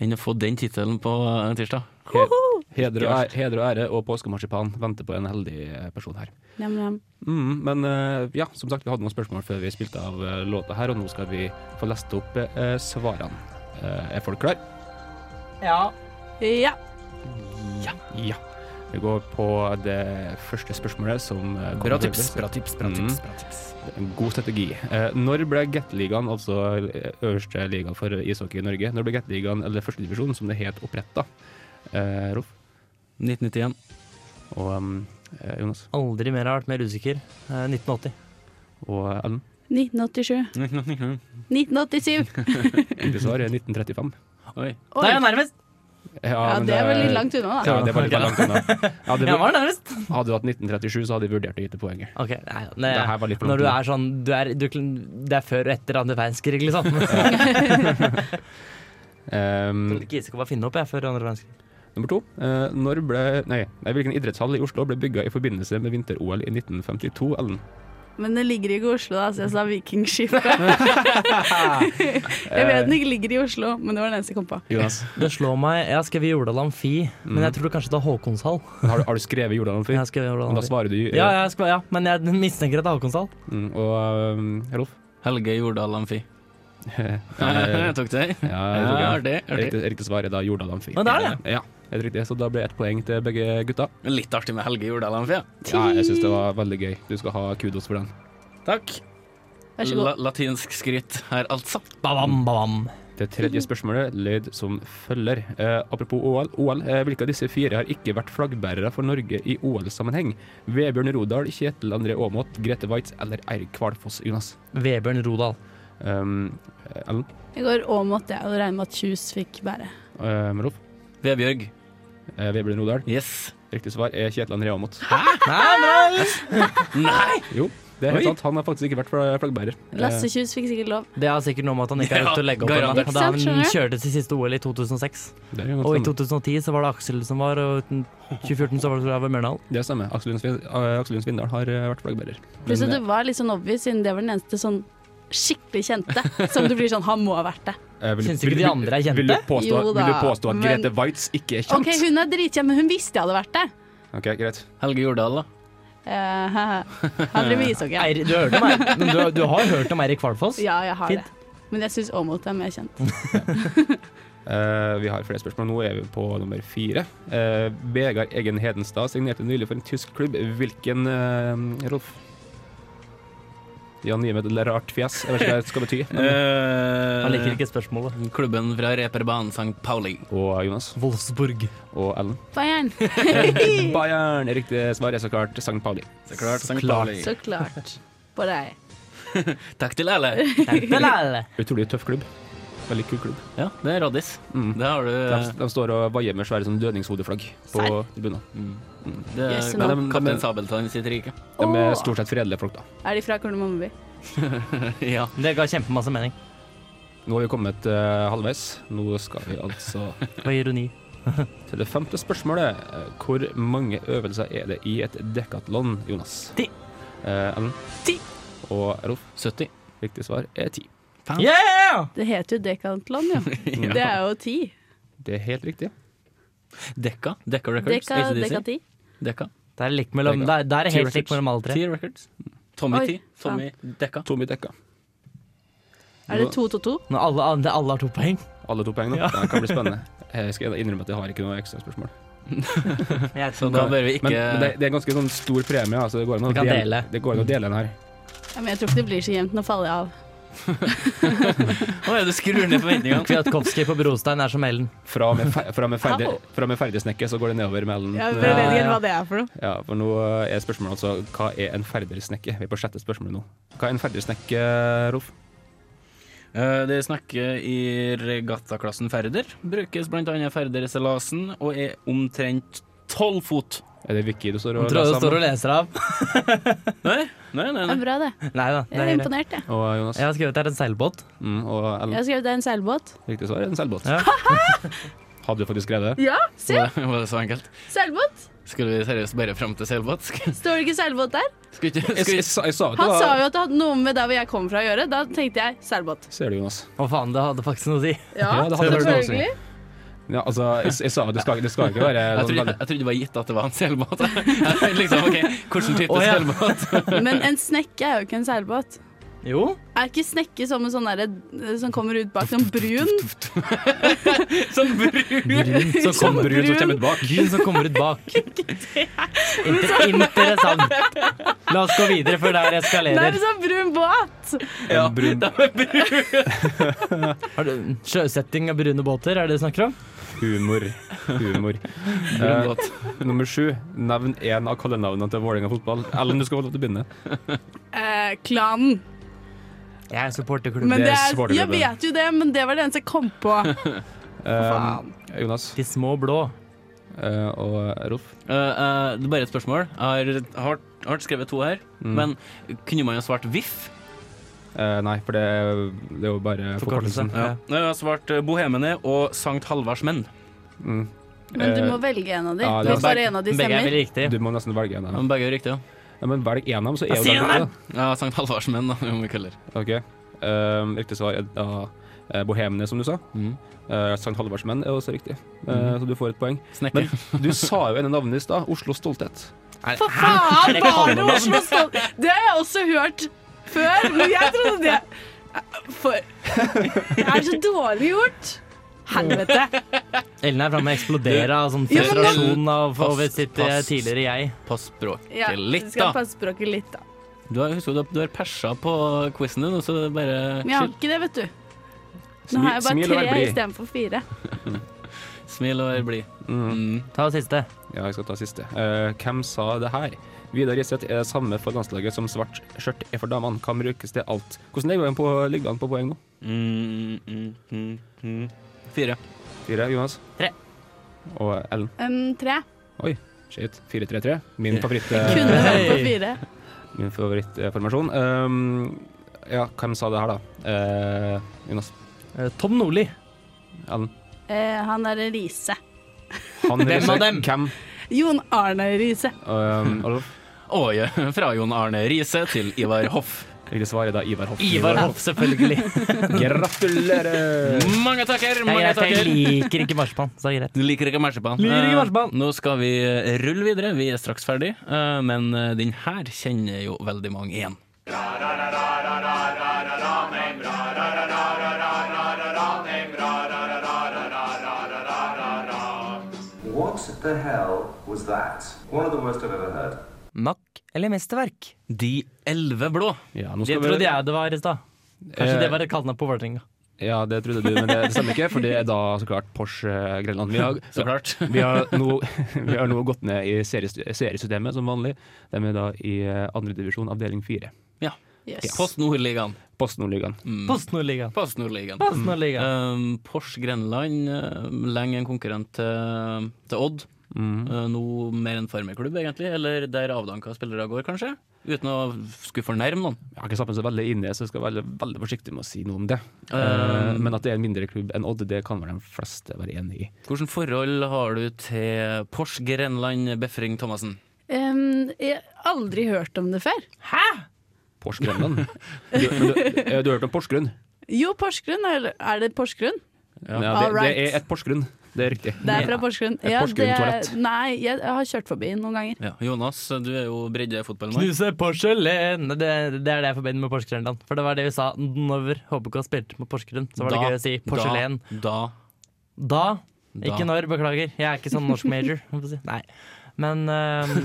S6: Enn å få den tittelen på eh, tirsdag.
S8: Heder og, ære, heder og ære og påskemarsipan venter på en heldig eh, person her.
S5: Njam, njam.
S8: Mm, men eh, ja, som sagt, vi hadde noen spørsmål før vi spilte av eh, låta her, og nå skal vi få lest opp eh, svarene. Eh, Er folk klare?
S7: Ja.
S5: Ja.
S8: Ja. Vi går på det første spørsmålet som eh, kommer
S6: Bra tips,
S8: til- Mm,
S6: bra tips, bra tips. Bra tips.
S8: En god strategi. Eh, Når ble Gateligaen, altså eh, øverste liga for ishockey i Norge, når ble Gateligaen, eller førstedivisjonen som det het, oppretta? Eh, Rolf?
S6: 1991.
S8: Og um, eh, Jonas?
S7: Aldri mer har vært mer usikker. Eh, 1980.
S8: Og Ellen?
S5: 1987. 1987.
S8: Riktig svar er 1935.
S5: Oi.
S6: Oi.
S7: Nei, jeg er nærmest!
S5: Ja,
S8: men
S5: det er veldig langt unna, da.
S8: Ja, det var litt langt unna. Hadde,
S7: Jeg var nærmest.
S8: hadde du hatt 1937, så hadde jeg vurdert å gi det poenget.
S7: Ok, nei, nei,
S8: Det her var litt
S7: Når du
S8: blant-
S7: er sånn du er, du, Det er før og etter andre verdenskrig, liksom.
S8: Um,
S7: Trodde ikke ISK var funnet opp jeg, før andre verdenskrig.
S8: Nummer to. Eh, når ble, nei, nei, hvilken idrettshall i Oslo ble bygga i forbindelse med vinter-OL i 1952, Ellen?
S5: Men det ligger ikke i Oslo, da, så jeg sa Vikingskipet. jeg vet den ikke ligger i Oslo, men det var den eneste jeg kom på.
S8: Jonas?
S7: Det slår meg Jeg har skrevet Jordal Amfi, men jeg tror kanskje det er Håkonshall.
S8: Men Har du, har du skrevet Jordal Amfi?
S7: Jeg har skrevet Jordal
S8: Men Da
S7: Amfi.
S8: svarer du eh,
S7: Ja, jeg skal, ja, men jeg mistenker at det er Håkonshall.
S8: Mm, og ehm, Rolf?
S6: Helge Jordal Amfi.
S8: Eh,
S6: Jeg tok det.
S8: Ja, jeg
S6: Ja,
S8: tok
S6: artig, artig.
S8: Riktig, riktig svar er da Jordal Amfi.
S6: Men det er
S8: Ja, helt riktig. Så da ble det ett poeng til begge gutta.
S6: Litt artig med Helge Jordal Amfi. ja.
S8: Ja, jeg syns det var veldig gøy. Du skal ha kudos for den.
S6: Takk.
S5: Vær så god.
S6: La latinsk skritt her, altså.
S7: Babam, babam.
S8: Det tredje
S7: Mhm.
S8: spørsmålet lød som følger. Eh, apropos OL, OL eh, hvilke av disse fire har ikke vært flaggbærere for Norge i OL-sammenheng? Vebjørn Rodal, Kjetil André Aamodt, Grete Waitz eller Eirik Kvalfoss, Jonas?
S7: Vebjørn Rodal.
S8: Um, Ellen?
S5: Jeg går Åmot, jeg, og regner med at Kjus fikk bære.
S8: Um, Rolf?
S6: Vebjørg.
S8: Eh, Vebjørn Rodal?
S6: Yes.
S8: Riktig svar er Kjetil André Aamodt.
S6: Nei!
S8: Jo, det er
S7: Oi.
S8: helt sant. Han har faktisk ikke vært fla- flaggbærer.
S5: Lasse Kjus fikk sikkert lov.
S7: Det er sikkert noe med at han ikke har
S6: Ja,
S7: rukket å legge opp
S6: garantert.
S7: ennå. Da
S5: Ikke sant,
S7: han
S5: skjønner
S7: kjørte til siste OL i 2006.
S8: Eh, det er jo
S7: Og i
S8: stemmer.
S7: 2010 så var det Aksel som var, og i 2014 så var det Ove Mørndal.
S8: Det stemmer. Aksel Lund Svin- eh, Aksel Lund Svindal har eh, vært flaggbærer.
S5: Pluss at
S8: Men,
S5: det var litt sånn obvious, siden det var den eneste sånn skikkelig kjente som du blir sånn Han må ha vært det.
S8: eh, vil-
S7: Syns ikke
S8: vil-
S7: de andre er kjente?
S8: Vil du påstå,
S5: Jo
S8: vil du
S5: da,
S8: påstå at
S5: men-
S8: Grete Waitz ikke er
S5: OK,
S8: kjent?
S5: hun er dritkjent, men hun visste jeg hadde vært det.
S8: Ok, greit.
S6: Helge Jordal, da.
S5: Eh, han driver med ishockey.
S7: Eir- Du, hørte om Eir- men du, du har hørt om Eirik Kvalfoss?
S5: Ja, jeg har
S7: Fint.
S5: det. Men jeg syns Åmot er mer kjent.
S8: Eh, vi har flere spørsmål. Nå er vi på nummer fire. Eh, Vegard Egen Hedenstad signerte nylig for en tysk klubb. Hvilken, eh, Rolf? Jan Nymed eller rart fjes? Jeg vet ikke hva det skal bety.
S6: Eh.
S8: Men,
S7: Han liker ikke spørsmålet.
S6: Klubben fra reperbanen St. Pauli.
S8: og Jonas.
S7: Wolfsburg.
S8: Og Ellen.
S5: Bayern.
S8: Bayern. Riktig svar er så klart St. Pauli.
S6: Så klart St.
S7: klart.
S6: Pauli.
S5: Så klart. På deg.
S6: Takk til alle.
S8: Utrolig tøff klubb. Veldig kul klubb.
S6: Ja, det er Raddis.
S8: Mm.
S6: Det har du.
S8: De, de står og vaier med svære sånn lønningshodeflagg på bunnen.
S6: mm, Det er
S5: Jøsse
S8: navn.
S6: Kaptein Kaptein Sabeltann sitt rike.
S8: De er
S5: Åh.
S8: stort sett fredelige folk, da.
S5: Er de fra Kornemommeby?
S6: ja.
S7: Det ga kjempemasse mening.
S8: Nå har vi kommet eh, halvveis. Nå skal vi altså
S7: Det var ironi.
S8: til det femte spørsmålet. Eh, Hvor mange øvelser er det i et dekatlon, Jonas?
S7: Ti.
S8: Eh, Ellen?
S5: Ti.
S8: Og Rolf?
S6: 70.
S8: Riktig svar er ti.
S7: Yeah!
S5: Det heter jo Dekantlon, jo. Det er jo ti.
S8: Det er helt riktig.
S6: Dekka. Dekka Records.
S5: Deka,
S6: ACDC.
S5: deka ti.
S6: Dekka.
S7: Det er likt mellom Det er, det er helt likt mellom alle tre.
S6: T Records. Tommy
S5: Oi,
S6: T. Tommy Dekka.
S8: Tommy dekka.
S5: Er det to to to?
S7: Når alle, andre- alle har to poeng.
S8: Alle to poeng nå. Det kan bli spennende. Jeg skal innrømme at jeg har ikke noe ekstra spørsmål.
S6: Så da bør vi ikke
S8: Men, men det, det er en ganske sånn stor premie. Altså det, går an å
S7: Vi kan
S8: dele,
S7: dele.
S8: det går an å dele den her.
S5: Ja, men jeg tror ikke det blir så jevnt. Nå faller jeg av.
S6: Å ja, du skrur ned forventningene.
S7: Kwiatkowski på Brostein er som Ellen.
S8: Fra og med, fe- fra og med, ferdig, fra og med ferdigsnekke så går det nedover med Ellen.
S5: Ja, jeg vet ikke helt hva det er for noe.
S8: Mm. Ja, for nå er spørsmålet altså hva er en ferdigsnekke? Vi er på sjette spørsmålet nå. Hva er en ferdigsnekke, Rolf?
S6: Eh, Det snakker i regattaklassen Færder. Brukes bl.a. Færderseilasen og er omtrent tolv fot.
S8: Er det Vicky du står
S7: Hun tror du står og leser av.
S6: Nei, nei, nei.
S5: Det er bra, det.
S7: Nei da.
S5: Jeg er imponert, jeg.
S8: Og eh, Jonas?
S7: Jeg har skrevet det er en seilbåt.
S8: Mm, og
S5: Jeg
S8: Ellen?
S5: har skrevet det er en seilbåt.
S8: Riktig svar er en seilbåt. Hadde du faktisk skrevet det?
S5: Ja, se!
S6: Var det- var det så enkelt?
S5: Seilbåt!
S6: Skulle vi seriøst bare fram til seilbåt? Skulle
S5: Står det ikke seilbåt der?
S6: skulle ikke
S8: Jeg,
S6: skulle-
S8: jeg, sa- jeg sa jo
S5: Han
S8: det
S5: sa
S8: var
S5: jo at det hadde noe med der hvor jeg kommer fra å gjøre. Da tenkte jeg seilbåt.
S8: Ser du, Jonas.
S7: Å faen, det hadde faktisk noe å si.
S5: Ja,
S8: Ja, det hadde vært noe å si.
S5: selvfølgelig.
S8: Ja, altså, jeg, jeg sa jo det skal, det skal ikke være
S6: Jeg
S8: sånn
S6: trodde,
S8: veldig
S6: jeg trodde det var gitt at det var en seilbåt. Jeg liksom, ok, Hvilken type
S7: Å, ja.
S6: seilbåt?
S5: Men en snekke er jo ikke en seilbåt.
S7: Jo.
S5: Er ikke snekke som en sånn derre som kommer ut bak, sånn brun?
S6: Sånn brun
S7: Brun som
S5: Sånn
S7: kommer
S8: brun som
S5: brun.
S8: kommer ut bak.
S7: Brun som kommer ut bak. Inter interessant. La oss gå videre før det her
S5: Nei,
S7: eskalerer.
S5: men sånn brun båt!
S6: Ja,
S8: En brun
S6: de er brun.
S7: Har du sjøsetting av brune båter, er det det du snakker om?
S8: humor. Humor.
S6: Brun
S8: Eh,
S6: båt.
S8: nummer sju. Nevn én av kallenavnene til Vålerenga fotball. Ellen, du skal få lov til å begynne.
S5: Eh, klanen.
S7: Jeg supporter
S5: Men
S7: klubben.
S5: det
S8: er
S5: er,
S8: svarteklubben.
S5: jeg vet jo det, men det var det eneste jeg kom på.
S8: Eh, Jonas
S7: De små blå.
S8: eh, og Rolf.
S6: Eh, eh, det er bare et spørsmål. Jeg har, har, har skrevet to her,
S7: Mm.
S6: men kunne man jo svart VIF?
S8: Mm. Eh, nei, for det, det er jo bare
S7: Forkortelse.
S8: forkortelsen.
S7: Ja.
S6: Nei, Jeg har svart eh, Bohemene og Sankt Halvards Menn.
S8: Mm.
S5: Men du
S8: Eh,
S5: må velge en av de.
S8: ja, det
S5: Hvis
S8: var-
S5: bare en av de
S7: Begge er
S5: stemmer.
S7: vel riktig.
S8: Du må nesten velge en av dem.
S6: Men Begge er riktig, ja.
S8: Ja, men velg en av dem, så er
S7: Jeg
S8: jo
S7: sier
S8: det riktig,
S6: ja Sankt Halvards Menn, da, om vi kaller det.
S8: da. Ok. Eh, riktig svar er da eh, Bohemene, som du sa.
S6: Mm.
S8: Eh, Sankt Halvardsmenn er også riktig, Eh, så du får et poeng.
S6: Snekker.
S8: Men du sa jo en av navnene i stad. Oslo Stolthet.
S5: For faen, bare Oslo Stolt! Det har jeg også hørt før, men jeg trodde det For Det er så dårlig gjort. Helvete.
S7: Ellen er framme og eksploderer av sånn
S5: Ja, men nå-
S7: frustrasjon av
S6: Pass,
S7: over sitt eh,
S6: pass.
S7: tidligere jeg.
S6: Pass språket
S5: Ja, du
S6: litt,
S5: skal
S6: da.
S5: passe språket litt, da.
S6: Du har, husk, du har- du har persa på quizen din, så det er bare
S5: Men jeg har
S6: chill.
S5: ikke det, vet du. Nå har jeg
S8: Smil- smil og
S5: bare
S8: vær
S5: tre
S8: blid.
S5: istedenfor fire.
S6: Smil og vær blid. Mm.
S7: Ta siste.
S8: Ja, jeg skal ta siste. Eh, hvem sa det her? Vidar Gjeseth er det samme for landslaget som svart skjørt er for damene. Kan brukes til alt. Hvordan ligger han på, ligger han på poeng nå?
S6: Mm, mm, mm, mm. Fire.
S8: Fire, Jonas?
S7: Tre.
S8: Og Ellen.
S5: Um, tre.
S8: Oi, shit. 4-3-3. Min favoritt... eh,
S5: Kunne vært på
S7: Hei.
S5: fire.
S8: Min favorittformasjon. Um, ja, hvem sa det her, da? Eh, Jonas.
S7: Eh, Tom Nordli.
S8: Ellen.
S5: Eh, han er Riise.
S8: Han
S7: Hvem av
S8: reiser-
S7: dem?
S8: Hvem?
S5: Jon Arne Riise.
S8: Um, Olof.
S6: Og ja, fra Jon Arne Riise til Ivar Hoff.
S8: Riktig svar er da Ivar Hoff.
S7: Ivar Hoff, selvfølgelig.
S8: Gratulerer!
S6: Mange takker!
S7: Jeg,
S6: mange
S7: jeg, jeg
S6: takker
S7: liker ikke marsipan, så det er greit.
S6: Du liker ikke marsipan?
S7: Liker ikke
S6: Eh,
S7: marsipan.
S6: Nå skal vi eh, rulle videre, vi er straks ferdig. Eh, Men eh, den her kjenner jo veldig mange igjen.
S14: What the hell was that? One of the worst I've ever heard.
S7: Mack eller mesterverk?
S6: De elleve blå.
S8: Ja, nå
S7: Det
S8: skal
S7: trodde
S8: vi...
S7: jeg det var i stad. Kanskje
S8: Eh.
S7: det var et kallenavn på Vålerenga.
S8: Ja, det trodde du, men det, det stemmer ikke, for det er da så klart Porsche eh, Grenland. Vi har,
S6: Så klart.
S8: vi har, nå, vi har nå gått ned i series- seriesystemet som vanlig. De er da i eh, andre divisjon, avdeling fire.
S6: Ja.
S5: Yes.
S6: Post Nordligaen. Mm.
S8: Post Nordligaen.
S7: Post Nordligaen.
S6: Post Nordligaen.
S7: Post Nordligaen.
S6: Um, Porsche Grenland, eh, lenge en konkurrent til, til Odd.
S8: Mm,
S6: Eh, nå mer en farmerklubb, egentlig. Eller der avdanka spillere går, kanskje. Uten å skulle fornærme noen.
S8: Jeg har ikke satt meg så veldig inn i det, så jeg skal være veldig forsiktig med å si noe om det.
S6: Eh,
S8: Eh, men at det er en mindre klubb enn Odd, det kan vel de fleste være enig i.
S6: Hvilket forhold har du til Porsche Grenland Befring Thomassen?
S5: Um, jeg har aldri hørt om det før.
S8: Porsche Grenland. Du, men du, eh, du har hørt om Porsgrunn?
S5: Jo, Porsgrunn. Er, er det Porsgrunn?
S8: Ja, det,
S5: Alright.
S8: det er et Porsgrunn. Det er riktig.
S5: Det er fra Porsgrunn.
S8: Et
S5: det er,
S8: Porsgrunn-toalett.
S5: nei, jeg har kjørt forbi noen ganger.
S6: Ja. Jonas, du er jo bredde i fotballen.
S7: Knuse porselen det, det er det jeg forbinder med Porsgrenland. For det var det vi sa når HBK spilte på Porsgrunn. Så var det gøy å si porselen.
S6: Da, da
S7: Da.
S6: Da.
S7: Ikke når, beklager. Jeg er ikke sånn norsk major. må jeg si. Nei. Men ehm,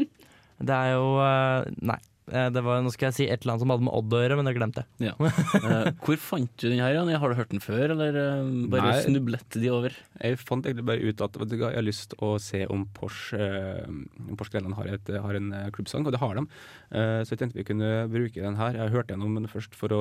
S7: det er jo eh, Nei. Eh, Det var, nå skal jeg si et eller annet som hadde med Odd å gjøre, men det glemte jeg.
S6: Ja. Eh, hvor fant du den her? Jan? Har du hørt den før, eller eh, bare
S8: Nei.
S6: snublet de over?
S8: Jeg fant egentlig bare ut at vet du hva, jeg har lyst å se om Porsche, eh, om Porsche Grenland har, et, har en eh, klubbsang, og det har de. Eh, så jeg tenkte vi kunne bruke den her. Jeg hørte gjennom den først for å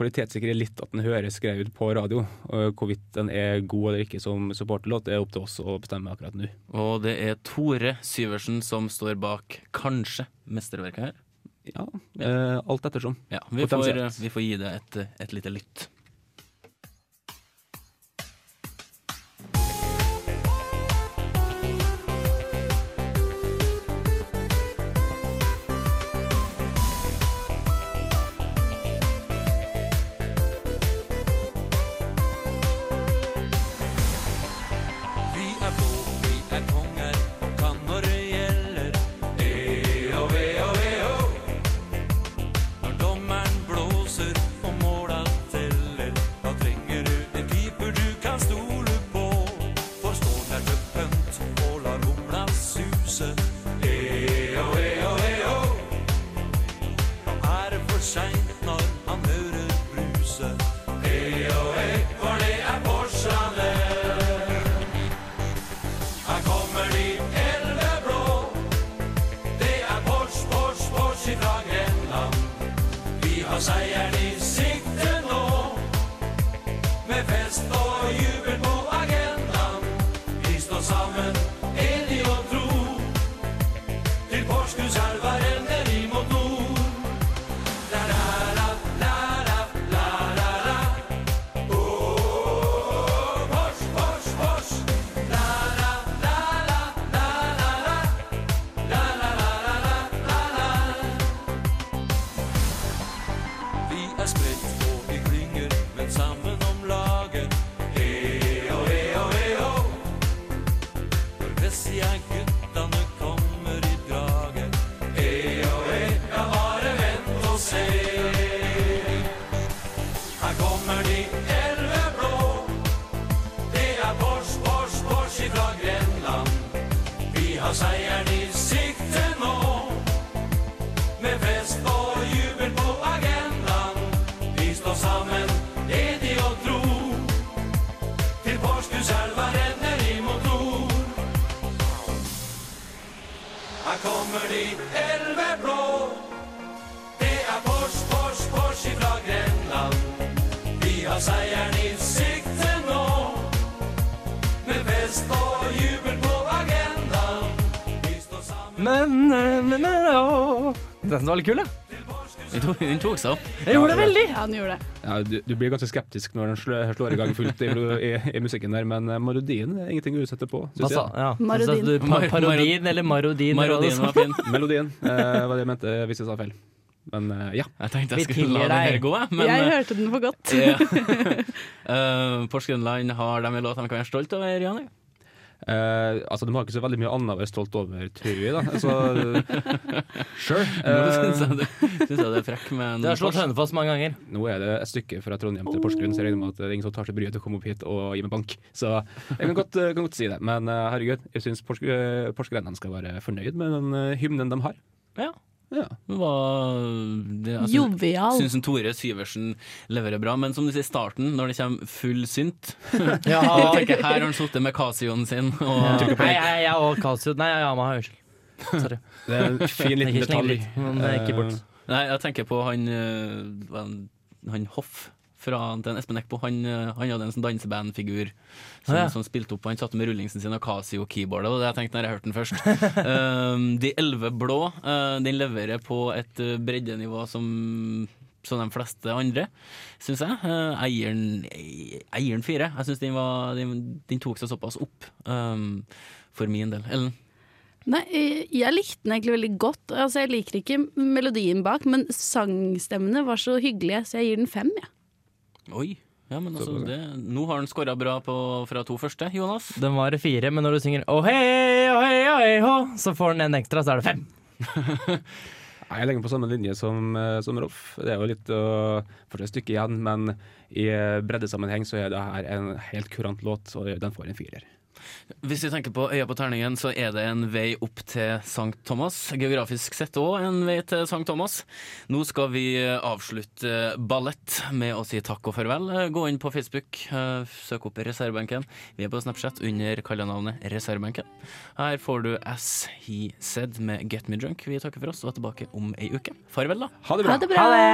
S8: kvalitetssikre litt at den høres grei ut på radio. Og hvorvidt den er god eller ikke som supporterlåt, det er opp til oss å bestemme akkurat nå.
S6: Og det er Tore Syversen som står bak kanskje mesterverket her.
S8: Ja, eh, alt ettersom.
S6: Ja, vi, får, eh,
S8: Potensielt.
S6: vi får gi det et, et lite lytt.
S15: Vi er bo, vi er konger, kan når det gjelder. Eo, eo, eo. Når dommeren blåser og måla teller, da trenger du en keeper du kan stole på. For står der til pønt og lar humla suse. Eo, eo, eo. Nå er det for seint når han hører bruse. Eo, eo, for det er Porsgrunn. Her kommer de elleve blå. Det er Pors, Pors, Pors ifra Grenland. Vi har seieren i sikte nå. Med fest og jubel på agendaen. Vi står sammen, enige og tro. Til Porsgrunnselva renner vi mot nord. La-la-la, la-la, la-la-la. Åh, Pors, Pors, Pors. La-la, la-la, la-la-la. Vi er spredt og vi klynger, men sammen om laget. Heo, heo, heo. Når Vessia guttane kommer i draget. Heo, heo, ja, bare vent og se. Her kommer de elleve blå. Det er Pors, Pors, Pors ifra Grenland. Vi har seieren i sikte nå. Med fest og jubel på agendaen. Vi står sammen, enig og tro. Til Porsgrunnselva renner imot nord. Her kommer de elleve blå. Det er Pors, Pors, Pors ifra Grenland. Vi har seieren i sikte nå. Med fest og jubel på agendaen.
S7: Men, men, men, åh. Den var litt kul, da.
S6: Hun tok seg opp.
S7: Jeg gjorde det veldig.
S5: Ja, den gjorde det.
S8: Ja, du, du blir ganske skeptisk når den slår, slår i gang fullt i, i, i musikken der, men eh, melodien er ingenting å utsette på.
S7: Hva
S8: synes jeg.
S7: sa- ja. Marodin. Så sa du pa- parodien, eller marodin, eller hva det var.
S8: Melodien eh, var det jeg mente, hvis jeg sa feil. Men eh, ja.
S6: Jeg tenkte jeg Vi skulle la tilgir den deg. her gå, jeg, men- eh,
S5: Jeg hørte den for godt.
S6: Ja. Eh, Porsgrunn-land har de en låt de kan være stolt over, Jan?
S8: Eh, altså, De har ikke så veldig mye annet å være stolt over, tror jeg. da altså, Sure. Eh,
S6: Nå synes
S7: sånn.
S6: jeg du- synes jeg du Eh. er frekk med en
S7: Det har slått
S6: Porsche.
S7: Hønefoss mange ganger.
S8: Nå er det et stykke fra Trondheim til Porsgrunn, så jeg regner med at det er ingen som tar seg bryet til å komme opp hit og gi meg bank. Så jeg kan godt, kan godt si det. Men eh, herregud, jeg syns eh, porsgrennene skal være fornøyd med den eh, hymnen de har.
S6: Ja.
S8: ja.
S5: Jovial.
S6: altså, Syns Tore Syversen leverer bra, men som du sier, starten, når det kommer full synt
S7: Ja.
S6: Da tenker jeg, Her har han sittet med Casioen sin og
S7: Nei, jeg, jeg og Casio Nei, Yama, unnskyld. Sorry.
S6: Det er en fin liten
S7: Ikke sleng
S6: detalj.
S7: dritt, men det er ikke bort.
S6: Eh, Nei, jeg tenker på han, eh, hva han, han Hoff fra den Espen Eckbo. Han, eh, han hadde en sånn dansebandfigur som,
S7: Ah, ja.
S6: som spilte opp. Han satt med rullingsen sin og Casio-keyboardet, og det jeg tenkte når jeg hørte den først. Eh, de elleve blå, eh, den leverer på et eh, breddenivå som som de fleste andre, syns jeg. Eh, Eieren eieren fire. Jeg syns den, var- den, den tok seg såpass opp, eh, for min del. Ellen?
S5: Nei, eh, jeg likte den egentlig veldig godt. Altså, jeg liker ikke melodien bak, men sangstemmene var så hyggelige, så jeg gir den fem, jeg.
S6: Oi. Ja, men altså,
S7: bra.
S6: det, nå har han skåra bra på, fra to første, Jonas.
S7: Den var i fire, men når du synger Oh, «Å hei, å hei, å hei, å», oh, så får den en ekstra, så er det fem.
S8: Nei, Jeg legger meg på samme linje som, eh, som Rolf. Det er jo litt å fortsatt et stykke igjen, men i eh, breddesammenheng så er det her en helt kurant låt, og den får en firer.
S6: Hvis vi tenker på øya på terningen, så er det en vei opp til St. Thomas. Geografisk sett òg en vei til St. Thomas. Nå skal vi avslutte ballett med å si takk og farvel. Gå inn på Facebook, eh, søk opp Reservebenken. Vi er på Snapchat under kallenavnet Reservebenken. Her får du As He Said med Get Me Drunk. Vi takker for oss og er tilbake om ei uke. Farvel, da.
S5: Ha det bra. Ha det.